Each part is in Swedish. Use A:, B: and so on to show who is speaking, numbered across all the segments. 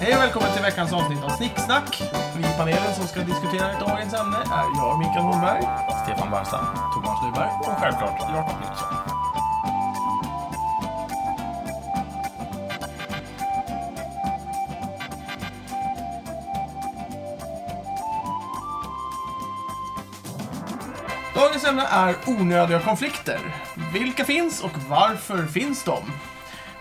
A: Hej och välkommen till veckans avsnitt av Snicksnack. Vi i panelen som ska diskutera dagens ämne är jag, Mikael Holmberg,
B: Stefan Barstam.
A: Thomas Nyberg och självklart Jakob Nilsson. Dagens ämne är onödiga konflikter. Vilka finns och varför finns de?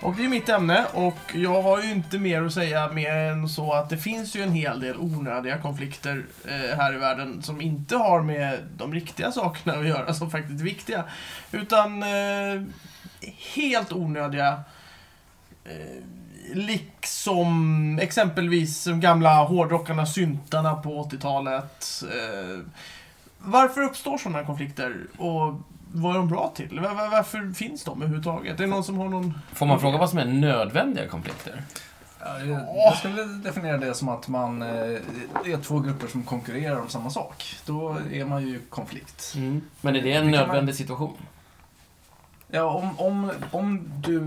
A: Och det är mitt ämne och jag har ju inte mer att säga mer än så att det finns ju en hel del onödiga konflikter eh, här i världen som inte har med de riktiga sakerna att göra som faktiskt är viktiga. Utan eh, helt onödiga eh, Liksom exempelvis de gamla hårdrockarna, syntarna på 80-talet. Eh, varför uppstår sådana konflikter? Och vad är de bra till? Var, var, varför finns de överhuvudtaget? Är det någon som har någon...
B: Får man fråga vad som är nödvändiga konflikter?
C: Ja, jag- Jag skulle definiera det som att man eh, det är två grupper som konkurrerar om samma sak. Då är man ju i konflikt.
B: Men är det en
C: Det kan
B: nödvändig situation?
C: Ja, om, om, om du,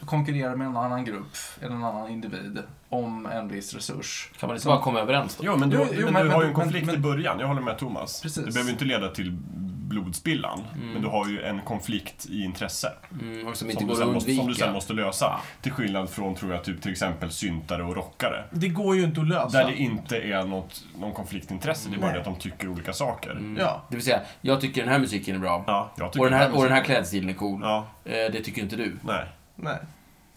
C: du konkurrerar med en annan grupp eller en annan individ om en viss resurs.
B: Kan man inte bara komma överens då?
D: Jo, men du,
C: Jo,
D: men
C: jo,
D: du
C: men-
D: har ju
C: men-
D: en konflikt
C: men-
D: i början. Jag håller med Thomas.
C: Precis. Mm.
D: Det behöver ju inte leda till blodspillan, men du har ju en konflikt i intresse.
B: Mm, och som inte
D: Som du,
B: går att
D: sen måste, som du sen
B: undvika.
D: måste lösa. Till skillnad från, tror jag, typ, till exempel syntare och rockare.
A: Det går ju inte att lösa.
C: Alltså.
D: Där det inte är något, någon konfliktintresse, det är bara det att de tycker olika saker.
A: Ja.
B: Det vill säga, jag tycker den här musiken är bra.
D: Ja, jag
B: Mm.
D: tycker
B: Och den,
D: det
B: här,
D: är
B: och den här
D: musik.
B: klädstilen är cool.
D: Ja,
B: Eh, det tycker inte du.
D: nej.
A: Nej.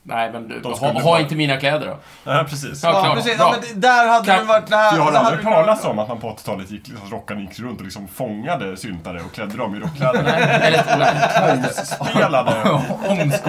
B: Nej, men du,
D: De
B: ha,
D: skulle
B: ha
D: bara-
B: inte mina kläder då.
D: Nej, precis.
B: Ja,
A: Ja,
B: klart.
A: precis.
B: Bra.
A: Ja, men det, där hade
B: Kan-
A: det varit... Det här,
D: Jag har
A: det här
D: aldrig
A: hade-
D: hört talas om att man på 80-talet gick, liksom, rockarna gick runt och liksom fångade syntare och klädde dem i rockkläder.
B: Eller, nej,
D: Spelade,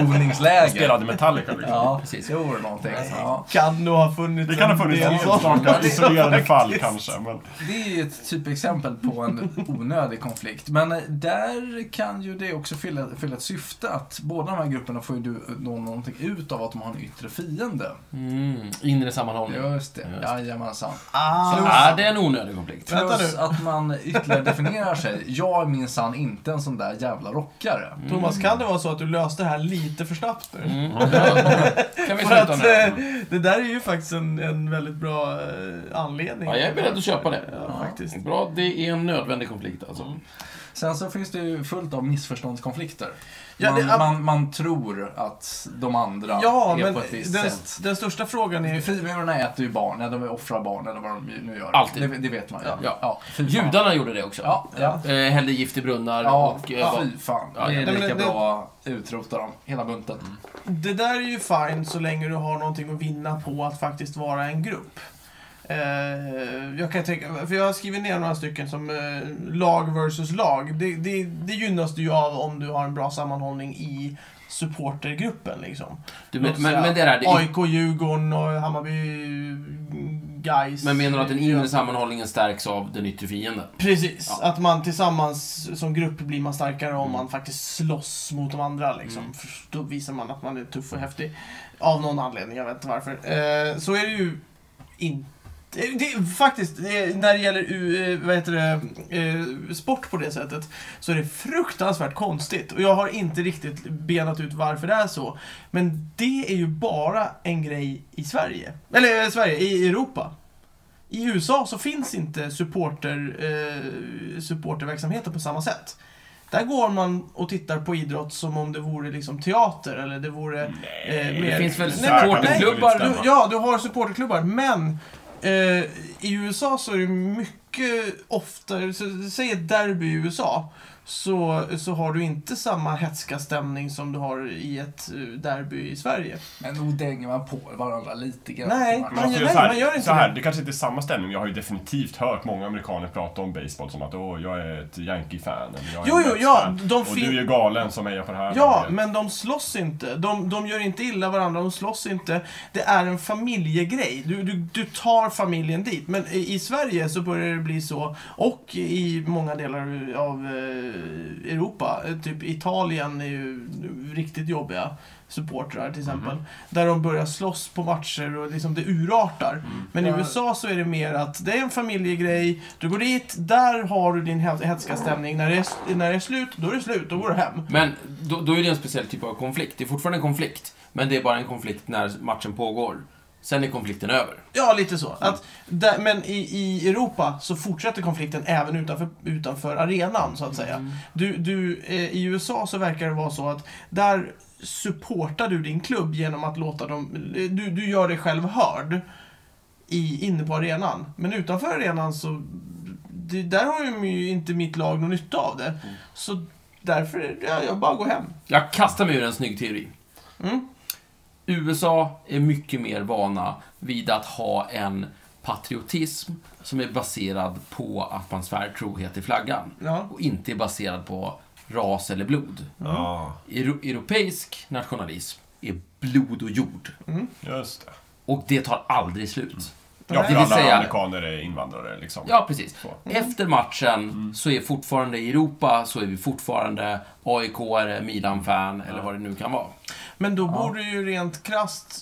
C: Omskolningsläger.
D: spelade Metallica liksom.
C: Ja,
B: Precis.
C: precis. Det vore någonting. Ja.
A: Kan nog ha funnits
D: Det kan ha
A: en
D: funnits
A: del sånt.
D: enstaka isolerade fall kanske. Men...
B: Eh,
C: Det är ju ett typexempel på en onödig konflikt. Men eh, där kan ju det också fylla, fylla ett syfte att båda de här grupperna får ju du, eh, nå- någonting ut av att de har en yttre fiende.
B: mm, inre sammanhållning.
C: Just det,
B: Just.
C: jajamensan.
A: Ah,
B: Så är det en onödig konflikt?
A: Vänta
C: Plus
A: nu.
C: att man ytterligare definierar sig. Jag är minsann inte en sån där jävla rockare.
A: Thomas, kan det vara så att du löste det här lite för snabbt nu?
B: Mm. Ja. Kan vi
A: För
B: sluta
A: att eh,
B: nu?
A: det där är ju faktiskt en, en väldigt bra eh, anledning.
B: Ja, jag är beredd att köpa det.
A: Ja, faktiskt.
B: Bra, det är en nödvändig konflikt alltså.
C: Sen så finns det ju fullt av missförståndskonflikter.
A: Ja,
C: man,
A: det-
C: man, man tror att de andra
A: Ja,
C: är
A: men
C: på ett visst
A: den,
C: sätt.
A: den största frågan är ju...
C: Frimurarna äter ju barn, eller de offrar barn eller vad de nu gör.
B: Alltid.
C: Det, det vet man ju.
B: Ja.
C: fy fan.
B: Judarna gjorde det också.
C: Ja, ja.
B: Eh, hällde gift i brunnar
C: Ja,
B: och... Eh,
C: ja,
B: var-
C: fy fan. Mm.
B: Ja,
C: det
B: ja.
C: är
A: Nej, men
C: lika
A: det-
C: bra att utrota dem, hela bunten.
A: Det där är ju fine så länge du har någonting att vinna på att faktiskt vara en grupp. Eh, jag kan tänka, för jag har skrivit ner några stycken som eh, lag versus lag. Det, det, det gynnas du ju av om du har en bra sammanhållning i supportergruppen liksom.
B: du, men, men, men det där, det är
A: AIK, Djurgården och Hammarby guys.
B: Men menar du att den inre sammanhållningen stärks av den yttre fienden?
A: Precis,
B: Ja.
A: att man tillsammans som grupp blir man starkare om man faktiskt slåss mot de andra. Liksom. För Då visar man att man är tuff och häftig. Av någon anledning, jag vet inte varför. Eh, så är det ju inte. Det, är faktiskt, det, är- när det gäller eh, vad heter det, eh, sport på det sättet så är det fruktansvärt konstigt. Och jag har inte riktigt benat ut varför det är så. Men det är ju bara en grej i Sverige. Eller eh, Sverige, i Europa. I USA så finns inte supporter, eh, supporterverksamheten på samma sätt. Där går man och tittar på idrott som om det vore liksom teater eller det vore... Eh, mer-
B: Det finns väl
A: Nej, men-
B: supporterklubbar?
A: Du, ja, du har supporterklubbar, men eh, i USA så är det mycket oftare, så, säg ett derby i USA, så, så har du inte samma hetska stämning som du har i ett eh, derby i Sverige.
C: Men nog dänger man på varandra lite grann.
A: Nej, man-
C: Man-
D: Men alltså,
A: nej,
D: så här,
A: man gör inte
D: så här,
A: det.
D: det kanske inte är samma stämning, men jag har ju definitivt hört många amerikaner prata om baseball som att åh, jag är ett Yankee-fan. eller, "Jag är
A: Jo,
D: en
A: jo,
D: Mets-fan."
A: ja, de
D: Och
A: fin-
D: du är galen som hejar på det här
A: Ja,
D: laget.
A: men de slåss inte. De, de gör inte illa varandra, de slåss inte. Det är en familjegrej. Du, du, du tar familjen dit. Men i i Sverige så börjar det bli så, och i många delar av eh, Europa. Eh, Typ Italien är ju riktigt jobbiga supportrar till exempel. Där de börjar slåss på matcher och liksom det urartar. Men i
C: Ja.
A: USA så är det mer att det är en familjegrej. Du går dit, där har du din he- hetska stämning. När det, är, när det är slut, då är det slut. Då går du hem.
B: Men då, då är det en speciell typ av konflikt. Det är fortfarande en konflikt. Men det är bara en konflikt när matchen pågår. Sen är konflikten över.
A: Ja, lite så. Att där, men i, i Europa så fortsätter konflikten även utanför, utanför arenan, så att säga. Du, du, eh, I USA så verkar det vara så att där supportar du din klubb genom att låta dem... eh, Du, du gör dig själv hörd i, inne på arenan. Men utanför arenan så... Det, där har ju ju inte mitt lag någon nytta av det. Så därför, är det- ja, jag bara går hem.
B: Jag kastar mig ur en snygg teori.
A: Mm.
B: USA är mycket mer vana vid att ha en patriotism som är baserad på att man svär trohet till flaggan
A: Ja. Mm.
B: och inte är baserad på ras eller blod.
D: Ja,
B: Euro- europeisk nationalism är blod och jord
A: Mm.
D: just det.
B: och det tar aldrig slut.
D: Mm. Ja, för
B: Det vill
D: alla
B: säga-
D: amerikaner är invandrare liksom.
B: Ja, precis. Mm.
D: Så.
B: Efter matchen så är fortfarande i Europa så är vi fortfarande AIK-are, Milan-fan eller vad det nu kan vara.
A: Men då borde ju rent krasst,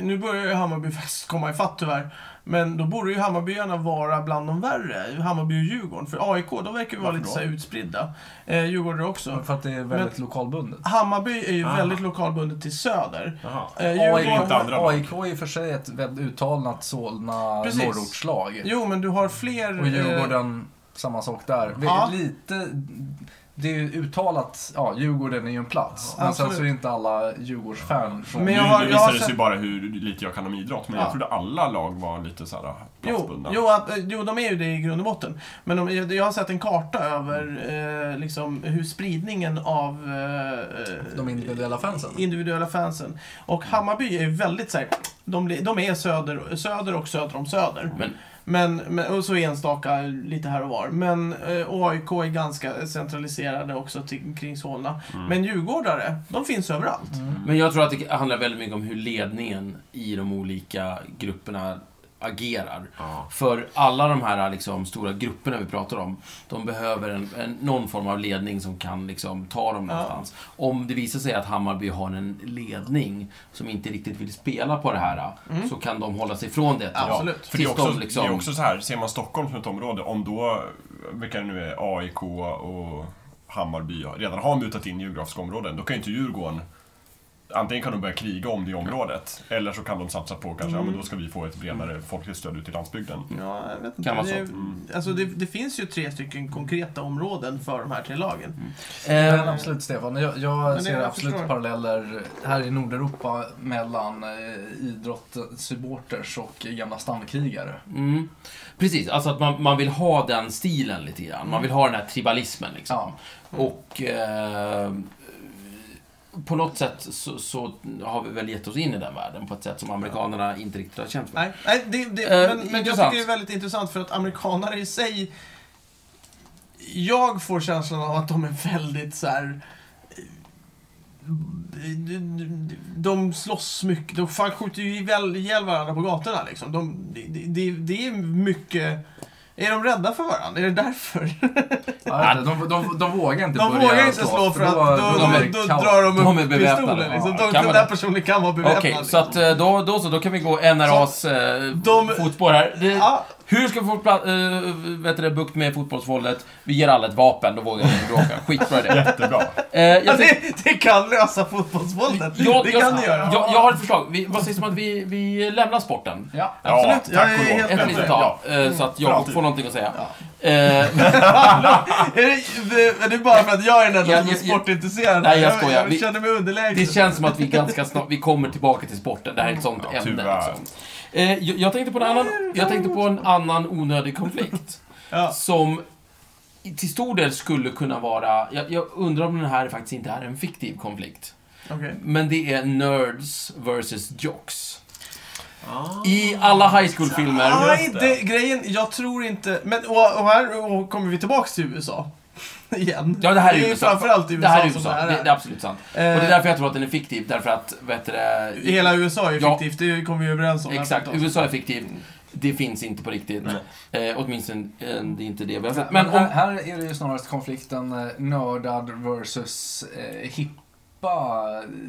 A: nu börjar ju Hammarby faktiskt komma ifatt tyvärr, men då borde ju Hammarbyarna vara bland de värre, Hammarby och Djurgården. För AIK, de verkar ju vara
D: Varför
A: lite
D: då?
A: så här utspridda. Eh, Djurgården också.
C: För att det är väldigt lokalbundet.
A: Hammarby är ju
D: Ah.
A: väldigt lokalbundet till Söder.
D: Jaha.
A: Eh,
C: AIK,
A: Djurgården-
D: inte andra lag.
C: AIK är i och för sig ett väldigt uttalat Solna
A: Precis.
C: norrortslag.
A: Jo, men du har fler...
C: Och
A: eh,
C: Djurgården, samma sak där. Vi-
A: Ja.
C: Lite, det är ju uttalat, ja Djurgården är ju en plats.
A: Ja,
C: men sen så är
A: absolut.
C: inte alla Djurgårdsfan från...
A: Men jag
D: nu,
A: har-
D: nu
A: jag
D: visar
A: har
D: det sig
A: sett-
D: bara hur lite jag kan om idrott, men
A: Ja.
D: jag trodde alla lag var lite så här
A: Jo,
D: platsbundna.
A: jo, att, eh, jo, de är ju det i grund och botten. Men de, jag jag har sett en karta över eh, liksom, hur spridningen av eh,
C: De individuella fansen.
B: Mm.
A: individuella fansen. Och Hammarby är ju väldigt såhär, de, de är söder, söder och söder om söder.
B: Men
A: Men, men, och så enstaka lite här och var. Men eh, AIK är ganska centraliserade också till, kring Solna.
B: Mm.
A: Men djurgårdare, de finns överallt.
B: Men jag tror att det handlar väldigt mycket om hur ledningen i de olika grupperna agerar.
D: Ja.
B: För alla de här liksom, stora grupperna vi pratar om, de behöver en, en, någon form av ledning som kan liksom, ta dem
A: Ja.
B: någonstans. Om det visar sig att Hammarby har en ledning som inte riktigt vill spela på det här, så kan de hålla sig ifrån det. ett tag.
A: Mm. Absolut.
D: För det är,
B: Tills
D: också,
B: de liksom-
D: det är också så här, ser man Stockholm som ett område, om då, vilka det nu är, AIK och Hammarby har- redan har mutat in geografiska områden, då kan ju inte Djurgården Antingen kan de börja kriga om det området, eller så kan de satsa på kanske, ja men då ska vi få ett bredare folkligt stöd ute i landsbygden.
A: Ja, jag vet inte.
B: Kan vara
A: det,
B: så.
A: är- alltså, det, det finns ju tre stycken konkreta områden för de här tre lagen.
B: Eh,
C: Men absolut Stefan, jag,
A: det
C: jag ser
A: jag
C: absolut
A: förstår.
C: paralleller här i Nordeuropa mellan eh, idrottssupporters och gamla stamkrigare.
B: Mm. Precis, alltså att man, man vill ha den stilen lite grann.
A: Mm.
B: Man vill ha den här tribalismen liksom.
C: Ja.
B: Och eh, på något sätt så, så har vi väl gett oss in i den världen på ett sätt som amerikanerna inte riktigt har känt för.
A: Nej, nej det, det,
B: Eh,
A: men, men jag tycker
B: intressant.
A: det är väldigt intressant för att amerikanare i sig... Jag får känslan av att de är väldigt så här... eh, De slåss mycket. De fan skjuter ju ihjäl ihjäl varandra på gatorna liksom. De, det, det, det är mycket... Är de rädda för varandra? Är det därför?
C: Ja, de, de, de, de vågar inte
A: De
C: börja
A: vågar inte slå för att då, då,
C: blir
A: då,
C: det kaos.
A: drar de upp
B: De är beväpnade.
A: pistolen. Liksom.
B: Ja,
A: De,
B: kan
A: den
B: man
A: där
B: det?
A: personen kan vara beväpnad.
B: Okej, så
A: liksom.
B: att eh, då, då så, då kan vi gå NRAs eh,
A: de-
B: fotspår här. Det,
A: Ja.
B: Hur ska vi få pla- eh, vet du, det, bukt med fotbollsvåldet? Vi ger alla ett vapen, då vågar vi inte bråka. Skitbra det.
D: Jättebra!
B: Eh, jag
A: Ja,
B: tänkte-
A: det, det kan lösa fotbollsvåldet.
B: Jag,
A: Det
B: jag,
A: kan det göra.
B: Jag, jag har ett förslag. Vi, vad sägs om att vi, vi lämnar sporten?
C: Ja.
A: Absolut,
D: Ja, tack
A: jag
D: och
A: är
D: lov.
A: helt
B: Ett
A: med
B: litet
A: på
B: tag, eh, så att
D: För
B: jag
D: alltid.
B: får någonting att säga. Eh, men-
A: Är det, är det bara för att jag är den enda
B: Jag-
A: som är
B: jag- jag-
A: sportintresserad?
B: Nej, jag
A: jag,
B: skojar. Vi-
A: känner mig underlägsen.
B: det känns som att vi ganska snart, vi kommer tillbaka till sporten. Det här är ett sånt
D: Ja,
B: ämne.
D: tyvärr.
B: Liksom. Eh, jag, jag, tänkte på en annan, jag tänkte på en annan onödig konflikt.
A: Ja.
B: Som i- till stor del skulle kunna vara, jag, jag undrar om den här faktiskt inte är en fiktiv konflikt.
A: Okej.
B: Men det är nerds versus jocks. I alla high school-filmer.
A: Nej, det, grejen, jag tror inte... Men, och, och här och kommer vi tillbaka till USA. Igen.
B: Ja, det här är
A: det är
B: USA.
A: framförallt i USA,
B: Det här är
A: som det
B: USA,
A: här
B: det,
A: är.
B: det är absolut sant. och det är därför jag tror att den är fiktiv, därför att, vet du det,
A: Eh, Hela USA är ju
B: Ja.
A: fiktivt, det kommer vi överens om. här
B: Exakt,
A: för ett tag sedan.
B: USA är fiktiv. Det finns inte på riktigt. Eh, åtminstone, eh, det är inte det vi har sett.
C: Men
B: Men
C: här,
B: om...
C: här är det ju snarast konflikten eh, nördad versus eh, hippa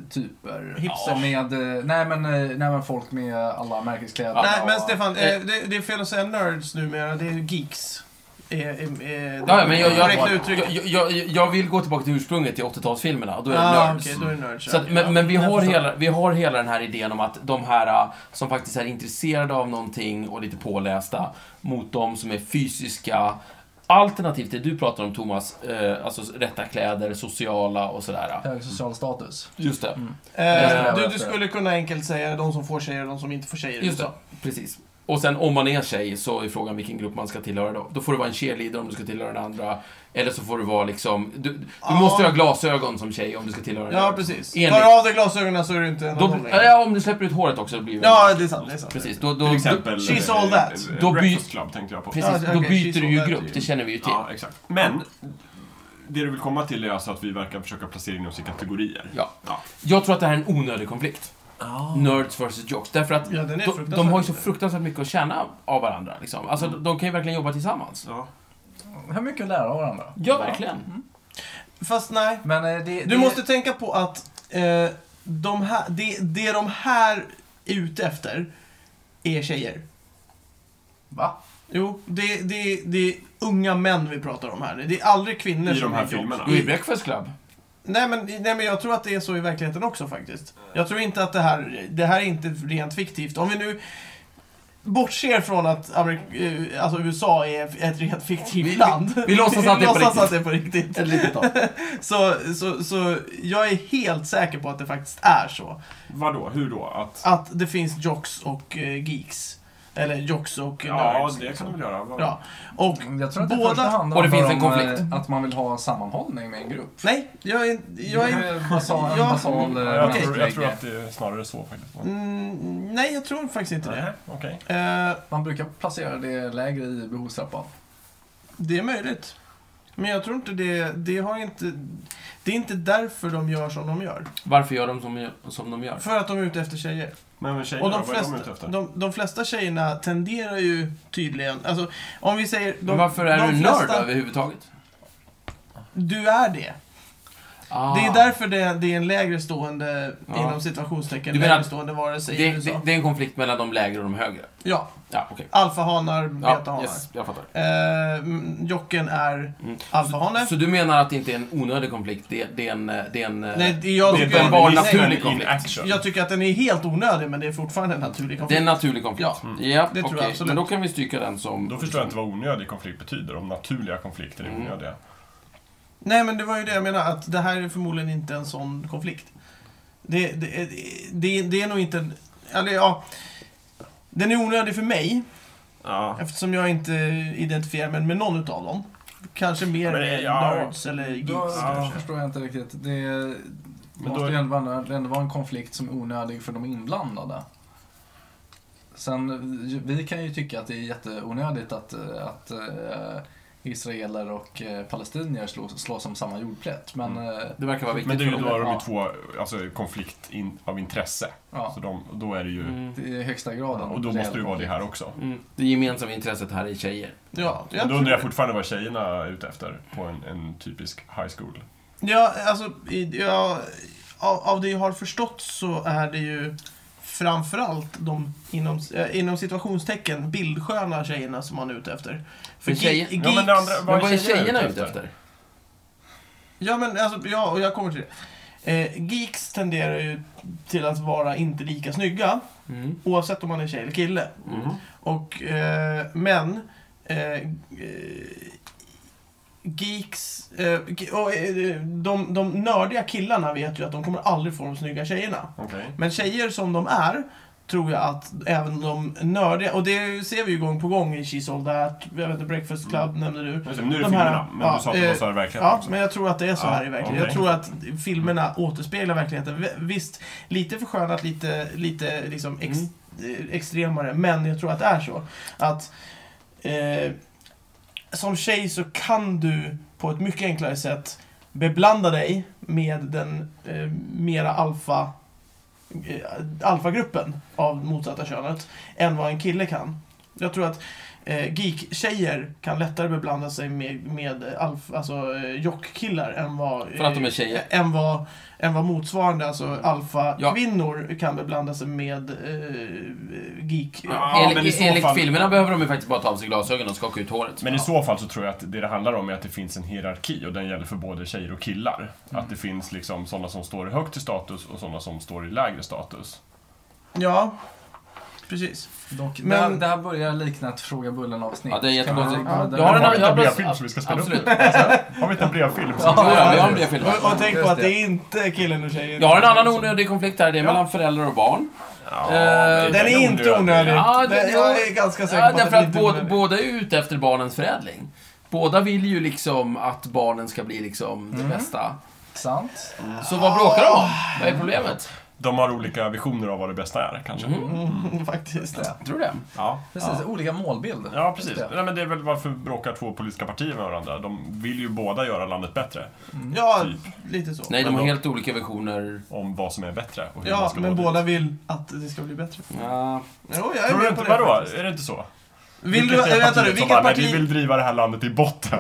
C: typer.
A: Hipsters.
C: Med, eh, nej, men, eh, nej men folk med alla märkeskläder.
A: Nej, men
C: och-
A: Stefan,
B: Eh.
A: eh, det, det är fel att säga nerds numera, det är geeks. är, är, är
B: Ja, ja, men jag, jag,
A: korrekta
B: jag,
A: uttrycket.
B: jag, jag, jag vill gå tillbaka till ursprunget till 80-talsfilmerna. och Då är det
A: ah,
B: nerds.
A: okej, då är det nerds.
B: Så att,
A: okej,
B: men,
A: ja.
B: men vi,
A: Jag
B: har
A: förstår.
B: hela, vi har hela den här idén om att de här äh, som faktiskt är intresserade av någonting och lite pålästa mot de som är fysiska alternativt det du pratar om Thomas, eh, alltså rätta kläder, sociala och sådär.
C: Hög social status.
B: Just det,
A: Eh,
C: Eh,
A: du, du skulle kunna enkelt säga de som får tjejer och de som inte får tjejer.
B: just det, precis. Och sen om man är tjej så är frågan vilken grupp man ska tillhöra då. Då får du vara en cheerleader om du ska tillhöra den andra. Eller så får du vara liksom, du, du
A: Ja.
B: måste ha glasögon som tjej om du ska tillhöra den
A: Ja,
B: andra.
A: precis.
B: Enligt-
A: Tar du av dig glasögonen så är du inte en
B: Då,
A: annan längre.
B: ja, om du släpper ut håret också då blir det
A: Ja, det är sant. Det är sant.
B: Precis, då, då,
D: Till exempel...
A: She's all that.
D: eh,
B: Då by-
D: Breakfast Club tänkte jag på.
B: Precis,
A: Ja,
B: då
A: okej,
B: byter
A: she's
B: du ju
A: all that
B: grupp,
A: ju.
B: det känner vi ju till.
D: Ja, exakt. Men det du vill komma till är alltså att vi verkar försöka placera in oss i kategorier.
B: Ja.
D: Ja.
B: Jag tror att det här är en onödig konflikt. Nerds vs jocks. Därför att
A: Ja, den är
B: de,
A: fruktansvärt Mm.
B: de har ju så
A: lite.
B: fruktansvärt mycket att tjäna av varandra. Liksom. Alltså, De kan ju verkligen jobba tillsammans.
D: Ja.
C: Vi har mycket att lära av varandra.
B: Ja, verkligen.
A: Fast nej.
C: Men eh, det,
A: Du
C: det,
A: måste tänka på att eh, de här, det, det de här är ute efter är tjejer.
C: Va?
A: Jo, det, det, det är unga män vi pratar om här. Det är aldrig kvinnor
D: I
A: som
D: de här
A: är jocks.
D: filmerna.
B: Och i Breakfast Club.
A: Nej men, nej men jag tror att det är så i verkligheten också faktiskt. Jag tror inte att det här, det här är inte rent fiktivt. Om vi nu bortser från att Amerik- eh, alltså USA är ett rent fiktivt
B: Vi-
A: land.
B: vi låtsas att det är på
A: låtsas
B: riktigt.
A: att det är på riktigt.
B: Ett litet tag.
A: Så, så, så jag är helt säker på att det faktiskt är så.
D: Vadå? Hur då? Att...
A: Att det finns jocks och eh, geeks. Eller jocks och
D: Ja,
A: nerds. liksom.
D: det kan de väl göra. Vad-
A: Ja. Och
C: Jag tror att det i
A: Båda-
C: första hand
B: Och det
C: handlar
B: finns en
C: om,
B: konflikt.
C: eh, att man vill ha sammanhållning med en grupp.
A: nej, jag är, jag är
C: Det är basal, en
A: Ja.
C: basal eh,
D: Ja, Jag
A: Okej.
D: tror, jag tror
C: mänsklig-
D: att det är snarare så faktiskt.
A: mm, Nej, jag tror faktiskt inte det.
D: Nej, Okej.
A: Eh,
C: Man brukar placera det lägre i behovstrappan.
A: Det är möjligt. Men jag tror inte det, det har inte... Det är inte därför de gör som de gör.
B: Varför gör de som, som de gör?
A: För att de är ute efter tjejer.
D: Men vad tjejer
A: Och
D: då?
A: de
D: Vad är de ute
A: flesta,
D: efter?
A: de, de flesta tjejerna tenderar ju tydligen... Alltså, om vi säger... De,
B: Men varför är
A: de
B: du
A: flesta-
B: nörd överhuvudtaget?
A: Du är det.
B: Ah.
A: Det är därför det, det är en lägre stående,
B: Ja.
A: inom situationstecken,
B: Du menar-
A: lägre stående varelse i
B: det,
A: USA.
B: det, det är en konflikt mellan de lägre och de högre.
A: Ja,
B: Ja, okej.
A: alfahanar, betahanar.
B: Ja, yes, jag fattar.
A: Eh, mm, jocken är
B: Mm.
A: alfahane.
B: Så du menar att det inte är en onödig konflikt? Det, det är en... Det är en eh,
A: Nej, det- jag,
D: Det är
A: tycker-
B: en uppenbar
A: nej,
B: naturlig
D: in
B: konflikt.
D: action.
A: Jag tycker att den är helt onödig, men det är fortfarande en naturlig konflikt.
B: det är en naturlig konflikt.
A: Ja,
B: Mm. ja
A: det tror jag
B: okej.
A: absolut.
B: Men då kan vi stryka den som...
D: Då förstår jag inte vad onödig konflikt betyder, om naturliga konflikter är
B: Mm.
D: onödiga.
A: Nej, men det var ju det jag menade, att det här är förmodligen inte en sån konflikt. Det, det, det, det är nog inte en... Eller ja... Den är onödig för mig,
D: Ja.
A: eftersom jag inte identifierar mig med någon utav dem. Kanske mer
D: Ja, men,
A: med
D: ja.
A: nerds eller geeks.
C: Då
D: kanske.
C: förstår jag inte riktigt. Det måste
D: då-
C: ju ändå vara, det ändå vara en konflikt som är onödig för de inblandade. Sen, ju- vi kan ju tycka att det är jätteonödigt att, eh, att eh, israeler och eh, palestinier slås, slås om samma jordplätt. Men, eh,
B: Det verkar vara viktigt
D: Men det är ju
B: för
D: då
B: dem.
D: de
C: Ja.
D: ju två, alltså konflikt in, av intresse.
C: ja,
D: Så de, då är det ju,
B: Mm.
C: det är i högsta graden.
D: och då måste det ju vara det här också.
B: Mm. Det gemensamma intresset här är tjejer.
A: Ja,
D: Men då undrar jag
A: tror-
D: fortfarande vad tjejerna är ute efter på en, en typisk high school.
A: Ja, alltså, i- ja, av, av det jag har förstått så är det ju framförallt de inom, eh, inom situationstecken bildsköna tjejerna som man är ute efter.
B: Men tjejer-
A: ge-
D: Ja, men det andra-
B: Men
D: Vad är
B: vad är
D: tjejerna
B: tjejerna
D: ute
B: ute efter?
A: ja, men alltså, ja, och jag kommer till det. Eh, geeks tenderar ju till att vara inte lika snygga,
B: Mm.
A: oavsett om man är tjej eller kille.
B: Mm.
A: Och, eh, men, eh, eh, geeks, eh, ge- och, eh, de, de nördiga killarna vet ju att de kommer aldrig få de snygga tjejerna.
D: Okej.
A: Men tjejer som de är, tror jag att även de nördiga, och det ser vi ju gång på gång i She's All That, jag vet inte, Breakfast Club nämnde du.
D: Just det, men Nu är det
A: De här-
D: filmerna, men
A: ja,
D: du sa att det var
A: eh,
D: så här i verkligheten
A: Ja,
D: också.
A: men jag tror att det är så
D: Ja,
A: här i verkligheten. Jag
D: okej.
A: tror att filmerna återspeglar verkligheten. V- Visst, lite förskönat, lite, lite liksom ex,
D: Mm.
A: eh, extremare, men jag tror att det är så. Att eh, som tjej så kan du på ett mycket enklare sätt beblanda dig med den eh, mera alfa eh, alfagruppen av motsatta könet än vad en kille kan. Jag tror att eh, geek-tjejer kan lättare beblanda sig med, med alf, alltså, eh, jock-killar än vad...
B: För att de är tjejer.
A: eh, Än vad, än vad motsvarande, alltså alfa-kvinnor kan beblanda sig med eh, geek...
D: Ja, men i
B: enligt
D: så
B: enligt
D: fall-
B: filmerna behöver de ju faktiskt bara ta av sig glasögonen och skaka ut håret.
D: Men i så fall så tror jag att det det handlar om är att det finns en hierarki och den gäller för både tjejer och killar. Att det finns liksom sådana som står högt i status och sådana som står i lägre status.
A: Ja, precis.
C: Dock,
A: Men-
C: det, här, det här börjar likna ett Fråga Bullen-avsnitt.
B: Ja, det är jättekonstigt.
C: Kan man-
B: Jag har en annan...
D: Har vi
B: Jag
D: inte
B: har
D: en brevfilm
B: brevfilm
D: som vi ska spela upp?
B: Absolut.
D: Har vi inte en brevfilm?
B: Ja, ja, vi har en
C: det.
B: brevfilm.
A: Och, och tänk
C: Just
A: på att det
C: det.
A: är inte killen och tjejen.
B: Jag har en annan onödig konflikt här, det är
A: Ja.
B: mellan föräldrar och barn.
D: Ja,
B: Eh,
A: Den är inte onödig.
B: Ja,
A: Den-
B: det-
A: jag är ganska säker
B: Ja,
A: på
B: därför
A: den
B: att
A: inte
B: båda,
A: onödig.
B: båda är ute efter barnens förädling. Båda vill ju liksom att barnen ska bli liksom det bästa.
C: Sant.
B: Så vad bråkar de om? Vad är problemet?
D: De har olika visioner av vad det bästa är, kanske.
A: Mm, faktiskt.
B: Tror du det?
D: Ja.
C: Precis, olika målbild.
D: Ja, precis.
C: Just det.
D: Nej, men det är väl varför bråkar två politiska partier med varandra? De vill ju båda göra landet bättre.
A: Ja,
B: Mm.
A: lite så.
B: Nej, de
D: Men
B: har
D: då-
B: helt olika visioner.
D: Om vad som är bättre och hur man
A: Ja,
D: ska
A: men
D: nå
A: båda
D: dit.
A: vill att det ska bli bättre.
B: Ja.
A: Jo, jag är
D: Tror du
A: med på
D: inte,
A: det
D: vadå?
A: faktiskt.
D: Är det inte så?
A: Vill du,
D: Vilket är
A: vänta nu,
D: partiet som bara,
A: vilket
D: "Nej, Vi
A: parti...
D: vill driva det här landet i botten.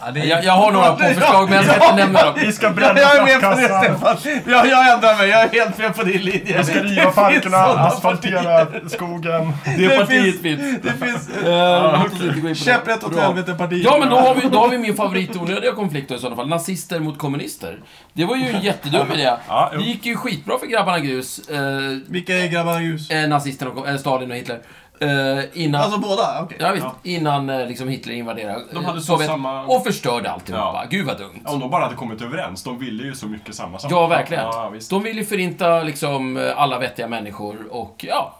C: Ja, det är-
B: Jag, jag har några på förslag, men jag ska inte nämna dem.
D: Vi ska
A: Ja,
D: bränna
A: jag är med på det
D: sandkassan.
A: Stefan! Ja, jag ändrar mig, jag är helt med på din linje.
D: Vi ska
A: Det
D: riva
A: finns
D: parkerna,
A: sådana partier.
D: asfaltera skogen.
B: Det är
A: Det
B: partiet
A: finns-
B: mitt.
A: Det finns...
B: Eh, låt oss inte gå in på det.
A: Käpprätt åt
B: Bra.
A: helvete partier.
B: Ja, men då har vi, då har vi min favoritonödiga konflikt då, i sådana fall. Nazister mot kommunister. Det var ju en jättedum idé.
D: Ja,
B: Det
D: jo.
B: gick ju skitbra för grabbarna grus. Eh,
A: Vilka är grabbarna ljus?
B: eh, nazisterna, och kom- eh, Stalin och Hitler. Eh, innan...
A: Alltså båda? Okej.
B: Ja, visst, innan eh, liksom Hitler invaderade eh,
D: De hade så
B: Sovjet
D: samma-
B: och förstörde alltihopa.
D: Ja.
B: Gud vad dumt.
D: Om de bara hade kommit överens, de ville ju så mycket samma sak.
B: Ja, verkligen.
D: Ja, visst.
B: De vill ju förinta liksom eh, alla vettiga människor och ja,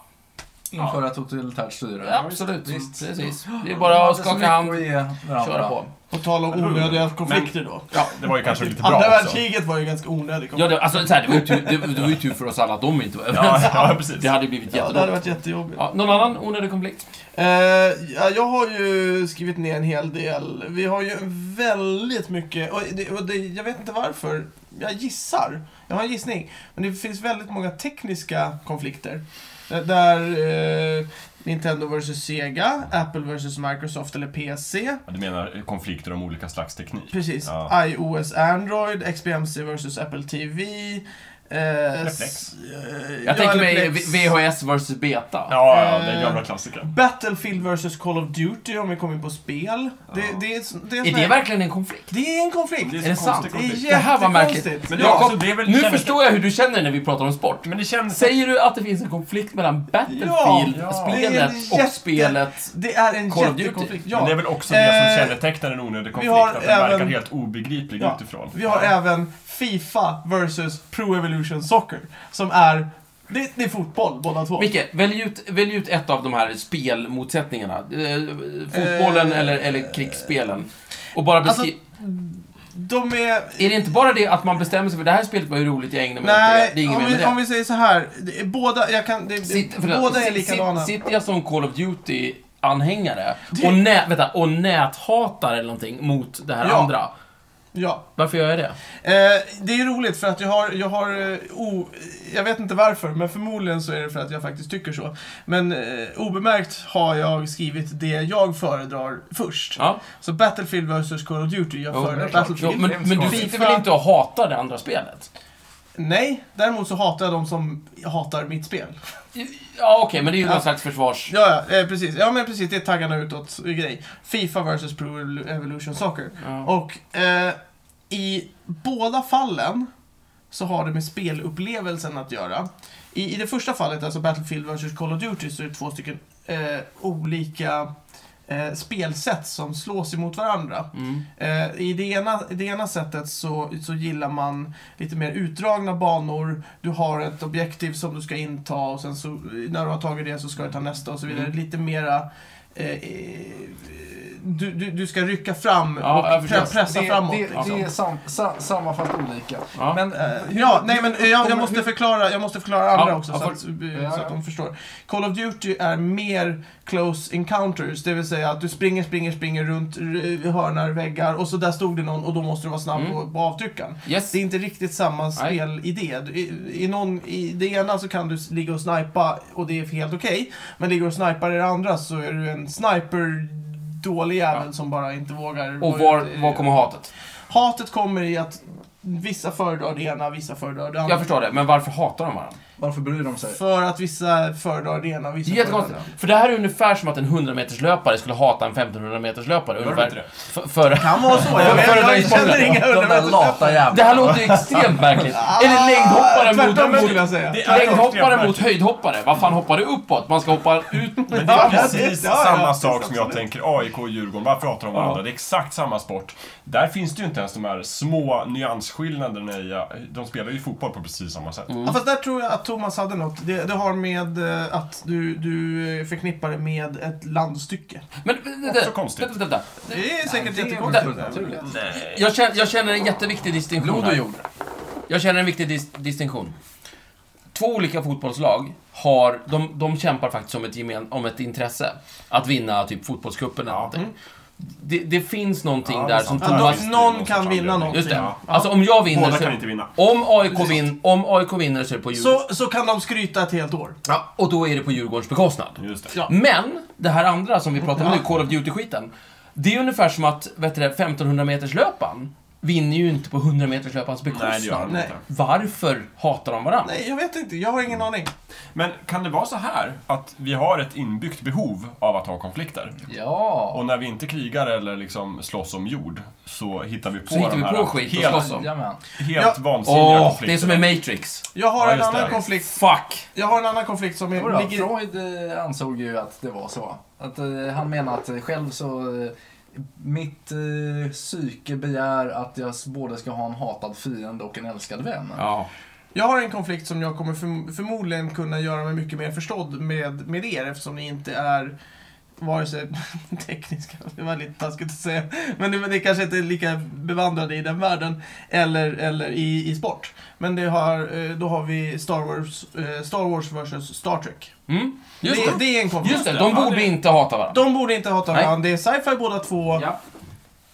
C: Införa ett totalitärt styre.
B: absolut.
C: Visst.
B: Precis. Det är
C: De
B: bara
C: hade
B: att
C: så
B: skaka
C: mycket
B: hand
C: att
B: och
C: ge varandra.
B: köra på.
A: På tal om onödiga konflikter då.
D: Det var ju kanske lite bra
A: Andra
D: också.
A: världskriget var ju ganska onödig konflikt.
B: Ja, det, alltså, så här, det, var ju tur, det, det var ju tur för oss alla att de inte var
D: Ja,
B: överens.
D: ja, precis.
B: Det hade ju blivit
A: Ja, det hade
B: jättedåligt.
A: varit jättejobbigt.
B: Ja, någon annan onödig konflikt?
A: Eh, ja, jag har ju skrivit ner en hel del. Vi har ju väldigt mycket, och det, och det, jag vet inte varför. Jag gissar. Jag har en gissning. Men det finns väldigt många tekniska konflikter. Eh, Där eh, Nintendo vs Sega, Apple vs Microsoft eller PC.
D: Ja, Du menar konflikter om olika slags teknik?
A: Precis.
D: Ja.
A: iOS Android, XBMC vs Apple TV. Eh,
D: Reflex.
A: s- eh, ja,
B: Jag tänker
A: eller
B: mig
A: Plex.
B: V- VHS vs Beta.
D: Ja, ja,
B: Eh,
D: den gamla klassikern.
A: Battlefield vs Call of Duty om vi kommer in på spel. Det, det, är, det, är,
B: Är
A: sån här-
B: det verkligen en konflikt?
A: Det är en konflikt.
D: Det
B: Är det
D: så
B: sant?
D: konstig
A: Det är
D: konflikt.
B: Det här var märkligt.
A: jättekonstigt.
D: Men det,
B: Ja,
D: ja, alltså, det är väl,
B: Nu
D: känner-
B: förstår jag hur du känner när vi pratar om sport.
D: Men det känns...
B: Säger du att det finns en konflikt mellan Battlefield,
D: Ja, ja.
A: Det är
B: spelet
A: en
B: och
A: jätte-
B: spelet?
A: Det är en
B: Call of Duty.
A: jättekonflikt.
D: Men det är
A: Ja.
D: väl också det
A: Eh,
D: som kännetecknar en onödig konflikt,
A: har
D: att den verkar
A: även-
D: helt obegriplig
A: Ja.
D: utifrån.
A: Vi har även Fifa versus Pro Evolution Soccer. Som är... Det, det är fotboll båda två.
B: Micke, välj ut, välj ut ett av de här spelmotsättningarna. Eh, fotbollen
A: Eh,
B: eller, eller krigsspelen. Och bara beskriv...
A: Alltså, De är...
B: är det inte bara det att man bestämmer sig för det här spelet var ju roligt jag ägnar mig åt det,
A: Nej,
B: det är inget
A: om,
B: mer med
A: vi,
B: det.
A: om vi säger så här. Det är båda, jag kan, det,
B: Sitt- förlåt,
A: båda är
B: sit-
A: likadana.
B: sit- Sitter jag som Call of Duty anhängare och, nä, vänta, och näthatare eller någonting mot det här
A: Ja.
B: andra.
A: Ja.
B: Varför gör jag det?
A: Eh, det är roligt för att jag har, jag har, eh, o, jag vet inte varför, men förmodligen så är det för att jag faktiskt tycker så. Men eh, obemärkt har jag skrivit det jag föredrar först.
B: Ja.
A: Så Battlefield vs Call of Duty, jag
B: Jo, det
A: föredrar
B: är klart. Jo,
A: Battlefield.
B: men, men du sitter väl inte och hatar det andra spelet?
A: Nej, däremot så hatar jag de som hatar mitt spel.
B: Ja, okej, men det är ju
A: Ja.
B: någon slags försvars...
A: Ja, ja, eh, precis. Ja, men precis. Det är taggarna utåt-grej. Fifa vs Pro Evolution Soccer.
B: Ja.
A: Och eh, i båda fallen så har det med spelupplevelsen att göra. I, I det första fallet, alltså Battlefield vs Call of Duty, så är det två stycken eh, olika eh, spelsätt som slås emot varandra.
B: Mm.
A: Eh, I det ena, i det ena sättet så, så gillar man lite mer utdragna banor. Du har ett objektiv som du ska inta och sen så, när du har tagit det så ska du ta nästa och så vidare.
B: Mm.
A: Lite mera... Eh, eh, du, du, du ska rycka fram
B: Ja, jag
A: och
B: förstår.
A: pre- pressa
C: det,
A: framåt.
C: Det,
A: liksom.
C: det är sam, sa, samma fast olika.
B: Ja.
C: Men,
A: Eh, ja, nej men eh, jag,
C: kommer-
A: jag, måste förklara, jag måste förklara andra
B: Ja,
A: också
B: ja,
A: så,
B: för-
A: att, eh,
C: ja,
A: så
C: ja.
A: att de förstår. Call of Duty är mer close encounters, det vill säga att du springer, springer, springer runt r- hörnar, väggar och så där stod det någon och då måste du vara snabb
B: Mm.
A: på, på avtryckaren.
B: Yes.
A: Det är inte riktigt samma spelidé. Du- I, i, någon, I det ena så kan du s- ligga och snipa och det är helt okej, men ligger du och snipar i det andra så är du en en sniper dålig jävel
B: Ja.
A: som bara inte vågar...
B: Och
A: gå ut
B: var,
A: i-
B: var kommer hatet?
A: Hatet kommer i att vissa föredrar det ena, vissa föredrar det andra.
B: Jag förstår det, men varför hatar de varandra?
C: Varför bryr de sig?
A: För att vissa föredrar det ena,
B: Det
A: vissa föredrar
B: är
A: det
B: jättekonstigt.
A: andra.
B: För det här är ungefär som att en 100-meterslöpare skulle hata en 1500-meterslöpare.
D: Gör de inte
B: Ungefär.
D: det?
B: För, för,
A: Kan vara så, jag, vet, jag känner inga
C: De där lata
B: det
C: jävlarna.
B: här låter ju extremt verkligt. Eller längdhoppare
A: Ah, Tvärtom
B: mot...
A: skulle
B: mot
A: jag säga.
D: Det är
B: Längdhoppare
D: extremt
B: mot höjdhoppare. Vad fan hoppar du uppåt? Man ska hoppa ut.
D: Men det är
A: Ja,
D: precis
A: det- ja,
D: samma
A: ja,
D: sak
A: precis,
D: som jag
A: absolut.
D: tänker AIK och Djurgården. Varför hatar de varandra?
B: Ja.
D: Det är exakt samma sport. Där finns det ju inte ens de här små nyansskillnaderna i... De spelar ju fotboll på precis samma sätt.
B: Mm.
A: Ja, fast där tror jag att Thomas hade något. Det, det har med eh, att du, du eh, förknippar det med ett landstycke.
B: Men vänta,
D: Också konstigt.
B: vänta, vänta.
A: Det är säkert
C: det är
A: jättekonstigt.
C: väl naturligt.
D: Nej.
B: Jag känner, jag känner en jätteviktig distinktion
C: Blod och
B: här.
C: jord.
B: Jag känner en viktig dis distinktion. Två olika fotbollslag har, de, de kämpar faktiskt om ett, gemen, om ett intresse. Att vinna typ fotbollscupen eller
D: Ja.
B: någonting. Det, det finns någonting
D: Ja, det är
B: där som
A: Att
D: sant. Ja,
B: Thomas...
D: visst,
A: någon, någon
D: det
A: kan
D: måste
A: vinna
D: fan
A: någonting.
B: Just det.
A: Ja.
B: Alltså om jag vinner
D: Båda
B: så...
D: kan inte vinna.
B: Om AIK, vin, om AIK vinner så är det på Djurgården.
A: Så, så kan de skryta ett helt år.
B: Ja, och då är det på Djurgårdens bekostnad.
D: Just det.
A: Ja.
B: Men, det här andra som vi pratar om nu, Call of Duty-skiten. Det är ungefär som att, vet du det, 1500-meterslöparen vinner ju inte på 100-meterslöparens bekostnad.
D: Nej, det gör han
A: Nej.
D: inte.
B: Varför hatar de varandra?
A: Nej, jag vet inte. Jag har ingen aning.
D: Men kan det vara så här att vi har ett inbyggt behov av att ha konflikter?
C: Ja.
D: Och när vi inte krigar eller liksom slåss om jord så hittar vi på
B: Så hittar
D: de
B: vi
D: här
B: på skit och
D: helt,
B: slåss om.
C: Jajamän.
D: helt
A: Ja.
D: vansinniga
B: Åh, det är
D: konflikter.
B: som i Matrix.
A: Jag har
D: Ja,
A: en
D: just
A: annan
D: det.
A: konflikt.
B: Fuck!
A: Jag har en annan konflikt som
C: Jodå,
A: är, ligger...
C: Freud eh, ansåg ju att det var så. Att, eh, han menar att eh, själv så... Eh, mitt eh, psyke begär att jag s- både ska ha en hatad fiende och en älskad vän.
B: Ja.
A: Jag har en konflikt som jag kommer förm- förmodligen kunna göra mig mycket mer förstådd med, med er eftersom ni inte är vare sig tekniska, det var lite taskigt att säga, men det, men det kanske inte är lika bevandrade i den världen, eller, eller i, i sport. Men det har, eh, då har vi Star Wars, eh, Star Wars vs Star Trek.
B: Mm. Just
A: det,
B: det.
A: det är en konflikt.
B: Just det, de
D: Ja,
B: borde
D: det-
B: inte hata varandra.
A: De borde inte hata
B: Nej.
A: varandra, det är sci-fi båda två.
B: Ja.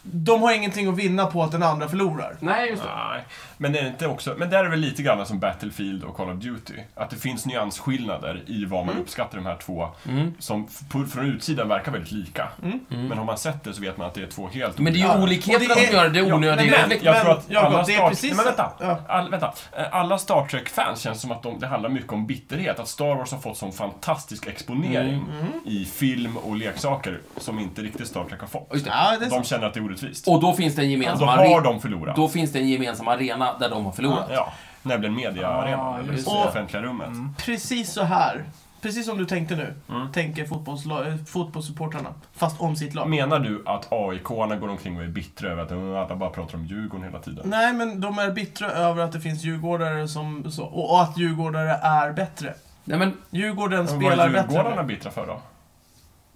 A: De har ingenting att vinna på att den andra förlorar.
B: Nej, just det.
D: Nej, men det är inte också... Men där är väl lite grann som Battlefield och Call of Duty. Att det finns nyansskillnader i vad man uppskattar de här två
B: Mm.
D: som f- på- från utsidan verkar väldigt lika. Men har man sett det så vet man att det är två helt
B: Men det är ju
D: olika-
A: Ja.
B: olikheterna
A: Och det är-
B: som gör det
D: Ja,
B: onödiga
A: men-
B: konflikter.
D: Jag tror att
A: Jakob,
D: alla
A: det är
D: Star...
A: precis-
D: Nej, men vänta.
A: ja.
D: All, vänta. Eh, Alla Star Trek-fans känns som att de, det handlar mycket om bitterhet. Att Star Wars har fått sån fantastisk exponering
B: Mm.
D: i film och leksaker som inte riktigt Star Trek har fått.
B: Just det.
A: Ja, det är
D: De
A: sant.
D: känner att det är orättvist.
B: Och då finns det en
D: Och
B: gemensam
D: då har
B: arena.
D: de förlorat.
B: Då finns det en gemensam arena där de har förlorat.
D: Ja, nämligen mediaarenan.
C: Ah,
D: eller
C: just
D: det
A: det. Mm.
D: offentliga rummet.
A: Precis så här. Precis som du tänkte nu,
D: Mm.
A: tänker fotbollsla- eh, fotbollssupportrarna. Fast om sitt lag.
D: Menar du att AIK-arna går omkring och är bittra över att "Åh, alla bara pratar om Djurgården hela tiden?
A: Nej, men de är bittra över att det finns djurgårdare som... Så, och och att djurgårdare är bättre.
B: Nej, men
A: Djurgården
D: Men vad är
A: spelar
D: Djurgårdarna
A: bättre.
D: bittra för då?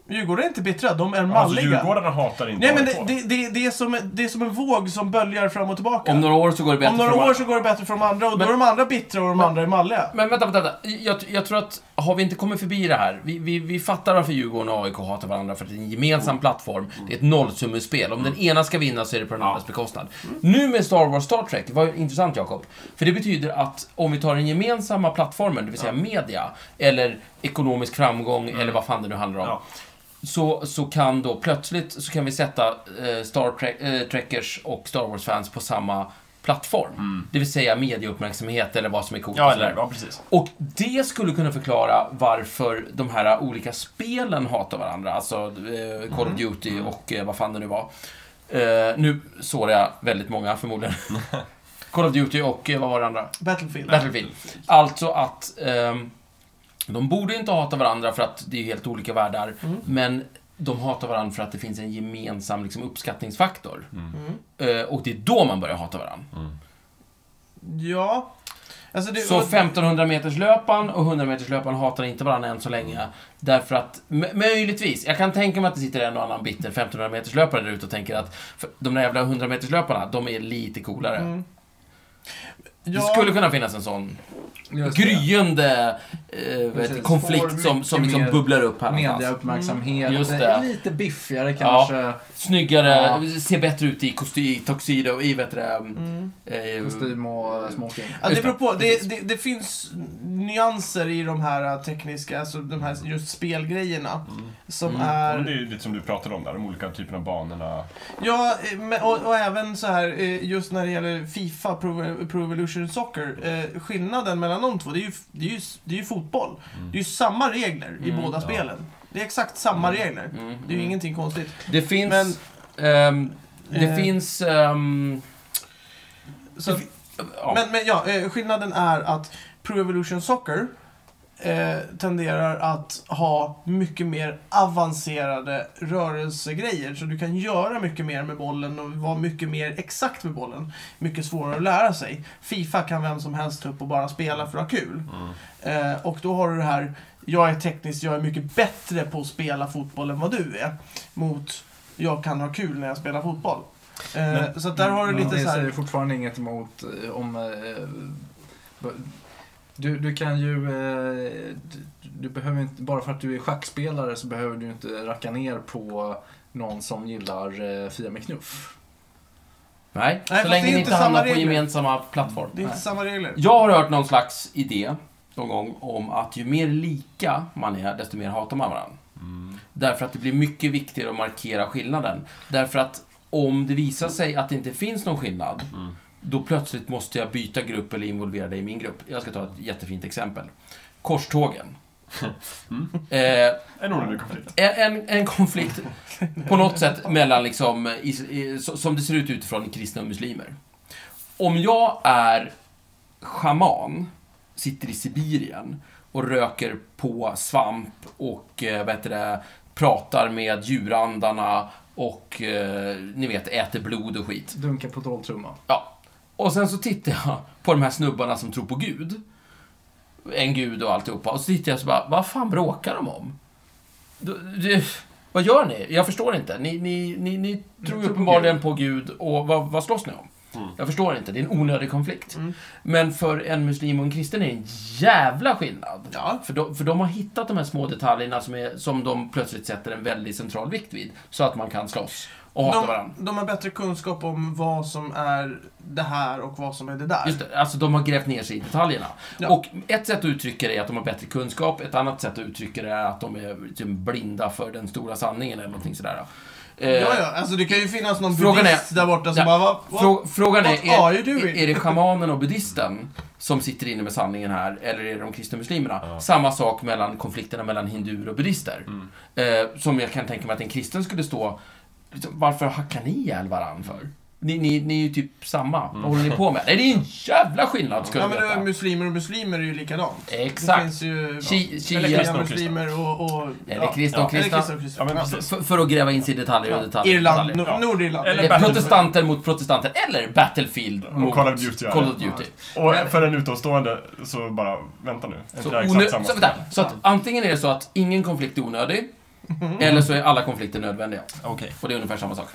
A: Djurgården är inte bittra, de är
D: Alltså
A: malliga.
D: Djurgårdarna hatar inte
A: Nej, men
D: AIK.
A: det, det, det, det, är som, det är som en våg som böljar fram och tillbaka.
B: om några år så går det bättre
A: Om några
B: för de
A: år
B: andra.
A: så går det bättre för de andra och
B: Men-
A: då är de andra bittra och de andra är malliga.
B: Men vänta, vänta, vänta. Jag, jag tror att, har vi inte kommit förbi det här? Vi, vi, vi fattar varför Djurgården och AIK hatar varandra, för att det är en gemensam plattform. Det är ett nollsummespel. Om den ena ska vinna så är det på den andras bekostnad. Nu med Star Wars Star Trek, det var ju intressant Jakob. För det betyder att om vi tar den gemensamma plattformen, det vill säga media, eller ekonomisk framgång, eller vad fan det nu handlar om.
D: Mm. Ja.
B: Så, så kan då plötsligt så kan vi sätta eh, Star Trek, eh, Trekkers och Star Wars-fans på samma plattform. Det vill säga medieuppmärksamhet eller vad som är coolt. och
D: Mm. Ja,
B: sådär.
D: eller, ja, precis.
B: Och det skulle kunna förklara varför de här olika spelen hatar varandra. Alltså eh, Call of Duty och eh, vad fan det nu var. Eh, nu sårar jag väldigt många förmodligen. Call of Duty och eh, vad var det andra?
A: Battlefield.
B: Battlefield. Alltså att ehm, de borde inte hata varandra för att det är helt olika världar. Men de hatar varandra för att det finns en gemensam liksom, uppskattningsfaktor.
A: Mm.
B: Eh, och det är då man börjar hata varandra.
A: Ja. Alltså det,
B: Så 1500 meters löpan och 100 meters löpan hatar inte varandra än så länge. Därför att, m- möjligtvis, jag kan tänka mig att det sitter en och annan bitter 1500 meters löpare
C: Mm.
A: Mm.
B: där ute och tänker att för, de där jävla 100 meters löparna, de är lite coolare. Det skulle kunna finnas en sån
C: Just det.
B: gryende eh,
C: Precis.
B: vet,
C: Får
B: konflikt
C: mycket
B: som, som liksom
C: mer
B: bubblar upp här någonstans.
C: Mediauppmärksamhet,
B: Mm, just det. Mm.
C: lite biffigare kanske.
B: Snyggare,
C: Ja.
B: ser bättre ut i kostym, tuxedo, i vet du det,
A: Mm.
B: eh,
C: Kostym och smoking.
A: Ja, det
B: Just
A: beror
B: det.
A: på. Det, det, det finns nyanser i de här tekniska, alltså de här just spelgrejerna. Som
D: Mm.
B: Mm.
D: Men Det
A: är...
D: är ju lite som du pratade om där, de olika typerna av banorna.
A: Ja, eh, men, och, och även så här eh, just när det gäller Fifa, Pro, Pro Evolution Soccer. Eh, skillnaden mellan de två, det är ju, det är ju, det är ju fotboll.
D: Mm.
A: Det är ju samma regler i
B: Mm,
A: båda
D: ja.
A: spelen. Det är exakt samma regler.
B: Mm,
A: Det är ju
B: mm.
A: ingenting konstigt.
B: Det finns...
A: Men-
B: ehm, det
A: Eh.
B: finns... ehm,
A: Så,
B: Det fi- ja.
A: Men, men ja, eh, skillnaden är att Pro Evolution Soccer eh, tenderar att ha mycket mer avancerade rörelsegrejer. Så du kan göra mycket mer med bollen och vara mycket mer exakt med bollen. Mycket svårare att lära sig. Fifa kan vem som helst ta upp och bara spela för att ha kul. Eh, och då har du det här, jag är tekniskt, jag är mycket bättre på att spela fotboll än vad du är. Mot, jag kan ha kul när jag spelar fotboll. Eh,
C: Men-
A: så att där har du
C: Men
A: lite
C: det
A: så
C: säger
A: här...
C: fortfarande inget emot eh, om... eh, b- Du, du kan ju... eh, Du, du behöver inte, bara för att du är schackspelare så behöver du inte racka ner på någon som gillar eh, Fia med knuff.
B: Nej,
A: Nej,
B: så
A: fast
B: länge
A: det är inte
B: ni inte
A: samma
B: hamnar på
A: regler.
B: gemensamma plattform.
A: Det är inte
C: Nej.
A: samma regler.
B: Jag har hört någon slags idé någon gång om att ju mer lika man är, desto mer hatar man varandra.
D: Mm.
B: Därför att det blir mycket viktigare att markera skillnaden. Därför att om det visar sig att det inte finns någon skillnad,
D: Mm.
B: då plötsligt måste jag byta grupp eller involvera dig i min grupp. Jag ska ta ett jättefint exempel. Korstågen.
A: Mm.
B: Eh,
D: En onödig konflikt.
B: en, en, en konflikt på något sätt mellan, liksom, is, i, så- som det ser ut utifrån, kristna och muslimer. Om jag är schaman, sitter i Sibirien och röker på svamp och eh, vad heter det, pratar med djurandarna och eh, ni vet, äter blod och skit.
C: Dunka på trolltrumma.
B: Ja. Och sen så tittar jag på de här snubbarna som tror på Gud. En gud och alltihopa. Och så tittar jag så bara, vad fan bråkar de om? Du, du, vad gör ni? Jag förstår inte. Ni, ni, ni, ni tror ju
C: tror på
B: uppenbarligen på Gud och vad, vad slåss ni om? Jag förstår inte, det är en onödig konflikt. Men för en muslim och en kristen är det en jävla skillnad.
A: Ja.
B: För, de, för de har hittat de här små detaljerna som, är, som de plötsligt sätter en väldigt central vikt vid. Så att man kan slåss och hata varandra.
A: De, de har bättre kunskap om vad som är det här och vad som är det där.
B: Just det, alltså de har grävt ner sig i detaljerna.
A: Ja.
B: Och ett sätt att uttrycka det är att de har bättre kunskap, ett annat sätt att uttrycka det är att de är liksom blinda för den stora sanningen eller någonting sådär. Eh,
A: Ja, ja, alltså det kan ju finnas någon
B: Frågan är-
A: buddhist där borta som
B: Ja.
A: bara, vad? vad?
B: Frå- frågan
A: What
B: är, är,
A: are you doing?
B: är, det shamanen och buddhisten som sitter inne med sanningen här, eller är det de kristna muslimerna?
D: Ja.
B: Samma sak mellan konflikterna mellan hinduer och buddister.
A: Mm.
B: Eh, som jag kan tänka mig att en kristen skulle stå, liksom, varför hackar ni ihjäl varandn för? Ni, ni, ni är ju typ samma, vad håller ni på med? Nej, det är en jävla skillnad skulle
A: Mm. Ja,
B: jag
A: men
B: veta.
A: det, muslimer och muslimer är ju likadant.
B: Exakt.
A: Det finns ju...
B: Ki- Ki-
A: eller
D: kristna
A: kristna
D: och
A: muslimer och... och
B: Eller kristna och
A: Ja, eller
B: kristna.
A: kristna och kristna.
D: Ja, men
A: Ja.
D: precis.
B: För, för att gräva in sig i detaljer och detaljer. och
A: Irland,
B: detaljer.
A: Nor-
D: Ja.
A: Nordirland.
D: Eller
B: Det är
D: Battle-
B: protestanter mot protestanter, eller Battlefield
D: Och
B: mot
D: Mm. Call of Duty, ja.
B: Call of Duty.
D: Och för en utomstående så bara, vänta nu. Är
B: Så,
D: inte det här
B: onö-
D: exakt samma
B: så,
D: spel?
B: vänta, så att antingen är det så att ingen konflikt är onödig,
D: Mhm.
B: eller så är alla konflikter nödvändiga.
D: Okej.
B: Och det är ungefär samma sak.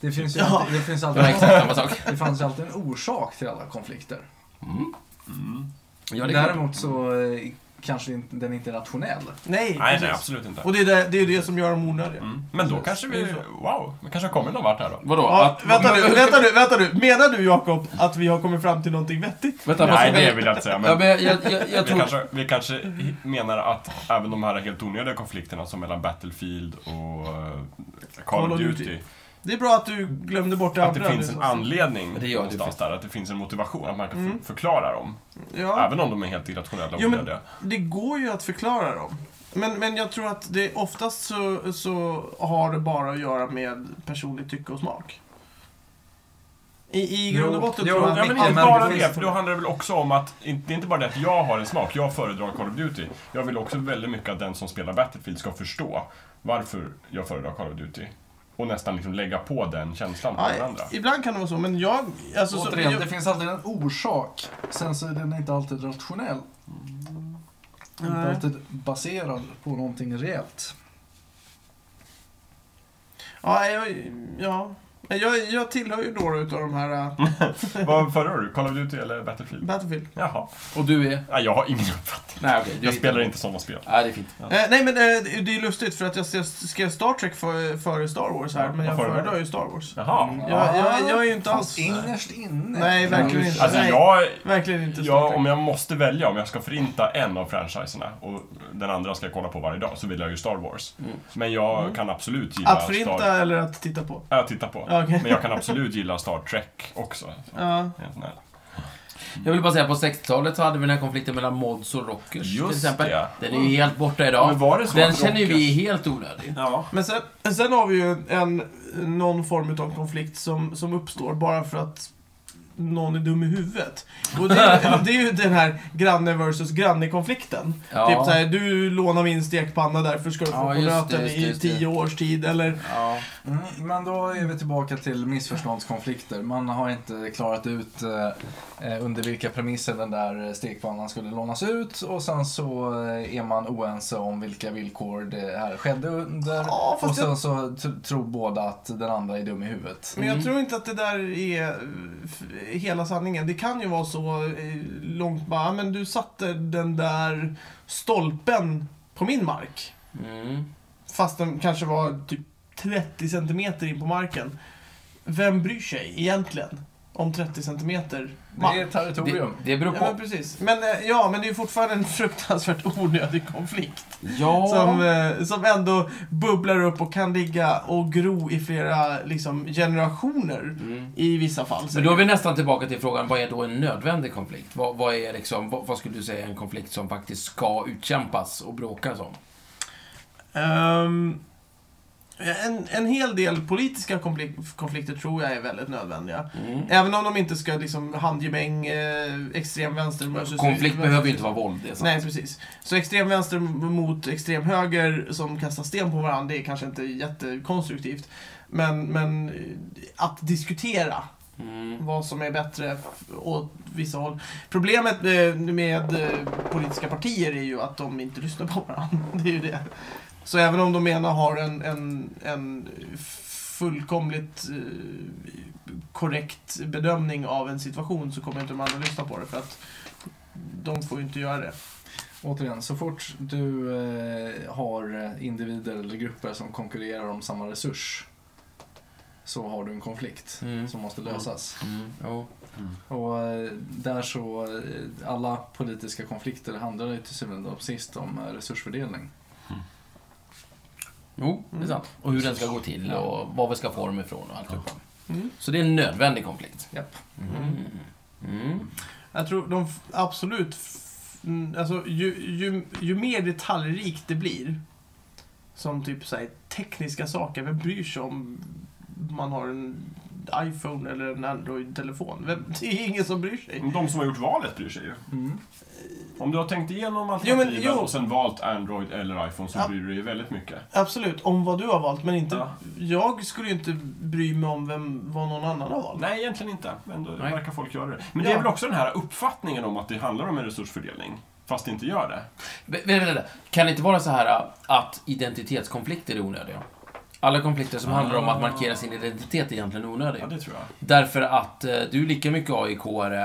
C: Det finns ju
A: Ja.
C: alltid, det finns
B: Det är
C: alltid,
B: exakt samma sak.
C: det fanns ju alltid en orsak till alla konflikter.
B: Mm. Ja, det är klart.
C: Däremot så eh, kanske inte- den inte är rationell.
A: Nej,
D: Nej,
A: precis.
D: nej, absolut inte.
A: Och det är det, det är det som gör dem onödiga.
D: Mm. Men då kanske vi, wow, vi kanske har kommit någon vart här då.
B: Vadå?
A: Ja,
B: att,
A: vänta nu, vänta nu, vänta nu. Menar du Jakob att vi har kommit fram till någonting vettigt?
B: vänta,
D: Nej,
B: vad-
D: det vill jag inte säga.
B: Ja,
D: Men
B: men jag, jag, jag, jag
D: vi,
B: tror...
D: kanske, vi kanske menar att även de här helt onödiga konflikterna som mellan Battlefield och eh, Call of Duty,
A: Det är bra att du glömde bort det
D: att
A: andra. liksom.
D: det finns
A: nu.
D: en anledning
B: Det gör det
D: någonstans
B: faktiskt.
D: där, att det finns en motivation, att man kan
A: Mm.
D: f- förklara dem.
A: Ja.
D: Även om de är helt irrationella och
A: Jo, men-
D: onödiga.
A: Det går ju att förklara dem. Men, men jag tror att det oftast så, så har det bara att göra med personligt tycke och smak. I, i
C: Jo,
A: grund och botten
C: jo,
A: tror jag
D: Ja,
A: att
D: men
A: mycket-
D: inte
C: men
D: bara
C: det
D: det,
C: finns-
D: för då handlar det väl också om att in- det är inte bara det att jag har en smak, jag föredrar Call of Duty. Jag vill också väldigt mycket att den som spelar Battlefield ska förstå varför jag föredrar Call of Duty. Och nästan liksom lägga på den känslan på den
A: ja,
D: andra.
A: ibland kan det vara så, men jag... Alltså, så,
C: Återigen, det
A: jag
C: finns alltid en orsak. Sen så är den inte alltid rationell. Inte
A: Nej.
C: alltid baserad på någonting reellt.
A: ja, jag, ja, Men Jag, jag tillhör ju några utav de här eh,
C: Mm.
D: Vad föredrar du? Call of Duty eller Battlefield?
A: Battlefield.
D: Jaha.
B: Och du är?
D: Nej, jag har ingen uppfattning.
B: Nej, okej. du
D: Jag
B: är
D: spelar inte sådana spel.
B: Nej, det är fint.
A: Eh, nej men eh, det det är ju lustigt för att jag skrev- skrev Star Trek för- före Star Wars här,
D: Ja,
A: men jag
D: vad föredrar
A: föredrar ju Star Wars.
D: Jaha.
A: Jag, jag, jag är ju inte alls...
C: Innerst inne.
A: Nej, verkligen inte.
D: Alltså
A: Nej.
D: jag,
A: Verkligen inte Star
D: jag,
A: Trek.
D: om jag måste välja om jag ska förinta en av franchiserna och den andra ska jag kolla på varje dag så vill jag ju Star Wars.
B: Mm.
D: Men jag
A: Mm.
D: kan absolut gilla
A: Att
D: Star...
A: förinta eller att titta på?
D: Ja, titta på.
A: Ja, okej.
D: Men jag kan absolut gilla Star Trek också. Så,
A: Ja.
D: helt nära.
B: Jag vill bara säga, på 60-talet så hade vi den här konflikten mellan mods och rockers. till
D: Just
B: exempel.
D: det.
B: Den är ju helt borta idag.
D: Men var det så
B: den
D: att
B: känner ju
D: rockers- Typ
B: vi helt onödig.
D: Ja.
A: Men sen, sen har vi ju en, någon form av konflikt som, som uppstår bara för att någon är dum i huvudet. Och det, det är ju den här granne versus granne-konflikten.
B: Ja.
A: Typ såhär, du lånar min stekpanna därför ska du få
B: Ja,
A: på
B: just det,
A: nöten
B: just det,
A: i
B: just det.
A: tio års tid. Eller,
B: Ja.
C: Mm, men då är vi tillbaka till missförståndskonflikter. Man har inte klarat ut eh, eh, under vilka premisser den där stekpannan skulle lånas ut och sen så eh, är man oense om vilka villkor det här skedde under.
A: Ja, fast
C: och sen så t- tror båda att den andra är dum i huvudet.
A: men jag
B: Mm.
A: tror inte att det där är eh, f- hela sanningen. Det kan ju vara så eh, långt bara, "Ah, men du satte den där stolpen på min mark.
B: Mm.
A: Fast den kanske var typ 30 centimeter in på marken. Vem bryr sig egentligen om 30 centimeter
C: Det är
A: mark?
B: Det,
C: territorium.
B: det beror
A: Ja, men
B: på.
A: precis. Men, eh, ja, men det är ju fortfarande en fruktansvärt onödig konflikt.
B: Ja.
A: Som, eh, som ändå bubblar upp och kan ligga och gro i flera liksom, generationer
B: Mm.
A: i vissa fall.
B: Men då är vi nästan tillbaka till frågan, vad är då en nödvändig konflikt? Vad, vad, är liksom, vad, vad skulle du säga är en konflikt som faktiskt ska utkämpas och bråkas om?
A: Ehm, en, en hel del politiska konflik- konflikter tror jag är väldigt nödvändiga.
B: Mm.
A: Även om de inte ska liksom handgemäng, eh, extremvänster versus...
B: Konflikt behöver ju inte vara våld, det är sant.
A: Nej, precis. Så extremvänster m- mot extremhöger som kastar sten på varandra, det är kanske inte jättekonstruktivt. Men, men eh, att diskutera
B: Mm.
A: vad som är bättre f- åt vissa håll. Problemet eh, med eh, politiska partier är ju att de inte lyssnar på varandra. Det är ju det. Så även om de ena har en, en, en fullkomligt eh, korrekt bedömning av en situation så kommer inte de andra att lyssna på det för att de får ju inte göra det.
C: Återigen, så fort du eh, har individer eller grupper som konkurrerar om samma resurs så har du en konflikt
B: Mm.
C: som måste lösas.
B: Mm. Jo.
C: Och eh, där så, eh, alla politiska konflikter handlar ju till syvende och sist om eh, resursfördelning.
B: Jo, det är
A: Mm.
B: sant. Och hur den ska gå till och var vi ska få dem ifrån och allt det
A: Mm.
B: Så det är en nödvändig konflikt.
A: Japp.
B: Mm. Mm.
A: Jag tror de f- absolut... f- mm, Alltså, ju, ju, ju mer detaljrikt det blir, som typ så här, tekniska saker, vem bryr sig om man har en iPhone eller en Android-telefon? Vem, det är ingen som bryr sig.
D: De som har gjort valet bryr sig ju. Om du har tänkt igenom alternativen
A: Jo, men- jo.
D: och sen valt Android eller iPhone så
A: Ja.
D: bryr du dig väldigt mycket.
A: Absolut, om vad du har valt, men inte...
D: Ja.
A: Jag skulle ju inte bry mig om vem, vad någon annan har valt.
D: Nej, egentligen inte. Men då
B: Nej.
D: verkar folk göra det. Men
A: Ja.
D: det är väl också den här uppfattningen om att det handlar om en resursfördelning, fast det inte gör det.
B: Vä- vä- vänta. Kan det inte vara så här äh, att identitetskonflikter är onödiga? Alla konflikter som handlar
D: Ah.
B: om att markera sin identitet är egentligen onödiga.
D: Ja, det tror jag.
B: Därför att eh, du är lika mycket AIK-are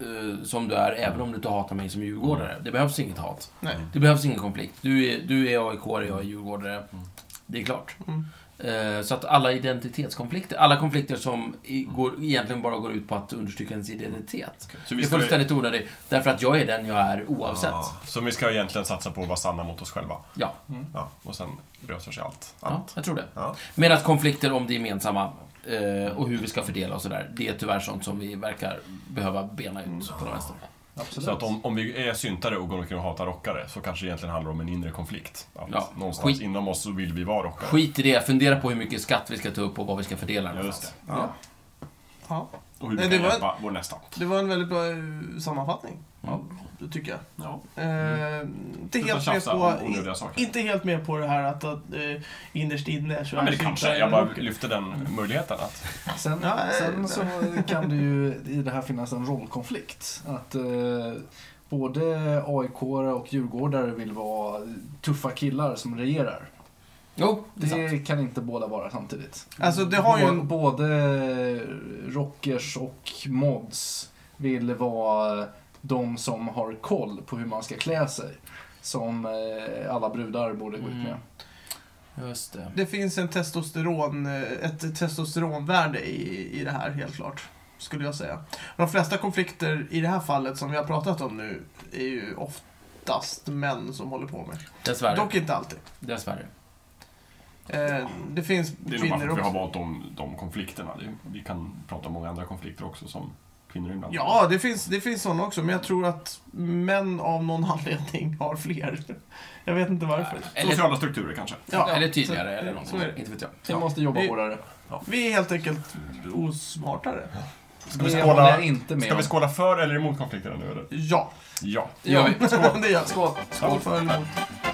B: eh, som du är, även om du inte hatar mig som djurgårdare.
D: Mm.
B: Det behövs inget hat.
A: Nej.
B: Det behövs ingen konflikt. Du är, du är AIK-are, jag är
D: Mm.
B: djurgårdare. Det är klart.
A: Mm.
B: Eh, Så att alla identitetskonflikter, alla konflikter som i, går, egentligen bara går ut på att understryka ens identitet.
D: Mm.
B: Det
D: Så vi Ah.
B: är
D: ska,
B: fullständigt onödigt, därför att jag är den jag är oavsett.
D: ja, så vi ska egentligen satsa på att vara sanna mot oss själva.
B: Ja.
D: Ja, och sen löser sig allt.
B: Ja,
D: annat.
B: jag tror det.
D: Mm. Ja.
B: Men att konflikter om det gemensamma eh, och hur vi ska fördela och sådär, det är tyvärr sånt som vi verkar behöva bena ut på de vänster.
A: Mm.
C: Absolut.
D: Så att om, om vi är syntare och går omkring och hatar rockare så kanske det egentligen handlar om en inre konflikt. Att
B: Ja.
D: någonstans
B: Skit-
D: inom oss så vill vi vara rockare.
B: Skit i det, fundera på hur mycket skatt vi ska ta upp och vad vi ska fördela
D: Ja, just det.
B: någonstans.
A: Ja. Ja.
D: Och hur vi
A: Nej,
D: kan
A: det var-
D: hjälpa vår nästa.
A: Det var en väldigt bra eh, sammanfattning,
B: Ja.
A: det tycker jag.
D: Ja.
A: Eh, Inte helt
D: Sluta
A: med
D: Mm. tjafsa
A: på...
D: om onödiga saker.
A: Inte helt med på det här att, att eh, innerst inne så
D: Ja, men det
A: syntare
D: kanske,
A: eller
D: jag bara
A: rocker.
D: lyfte den möjligheten att...
C: Sen,
A: Ja, eh,
C: sen så kan det ju i det här finnas en rollkonflikt. Att eh, både aik och djurgårdare vill vara tuffa killar som regerar.
B: Jo, det är sant.
C: Det kan inte båda vara samtidigt.
A: Alltså, det har ju
C: Bå-
D: Mm.
A: en-
C: Både rockers och mods vill vara de som har koll på hur man ska klä sig. Som eh, alla brudar borde gå ut med.
B: Mm. Just det.
A: Det finns en testosteron, eh, ett testosteronvärde i, i det här, helt klart. Skulle jag säga. De flesta konflikter i det här fallet som vi har pratat om nu är ju oftast män som håller på med.
B: Dessvärre.
A: Dock inte alltid.
B: Dessvärre.
A: Eh, det finns
D: Det är nog bara för
A: kvinnor
D: att vi har
A: också.
D: valt de, de konflikterna. Det- Vi kan prata om många andra konflikter också som kvinnor ibland.
A: Ja, det finns, det finns sådana också, men jag tror att män av någon anledning har fler. Jag vet inte varför.
B: Eller,
D: Sociala strukturer kanske.
A: Ja,
B: eller tydligare
A: så-
B: eller
A: så är det.
B: någonting. Inte vet jag.
C: Vi måste jobba
A: Vi-
C: hårdare.
A: Vi är helt enkelt osmartare.
D: Ska vi
C: det
D: skåla-
C: håller jag inte med
D: Ska vi
C: om.
D: skåla för eller emot konflikterna nu eller?
A: Ja.
D: Ja.
B: Det gör vi.
A: det gör vi. Skål. Skål för eller emot.
B: Skål.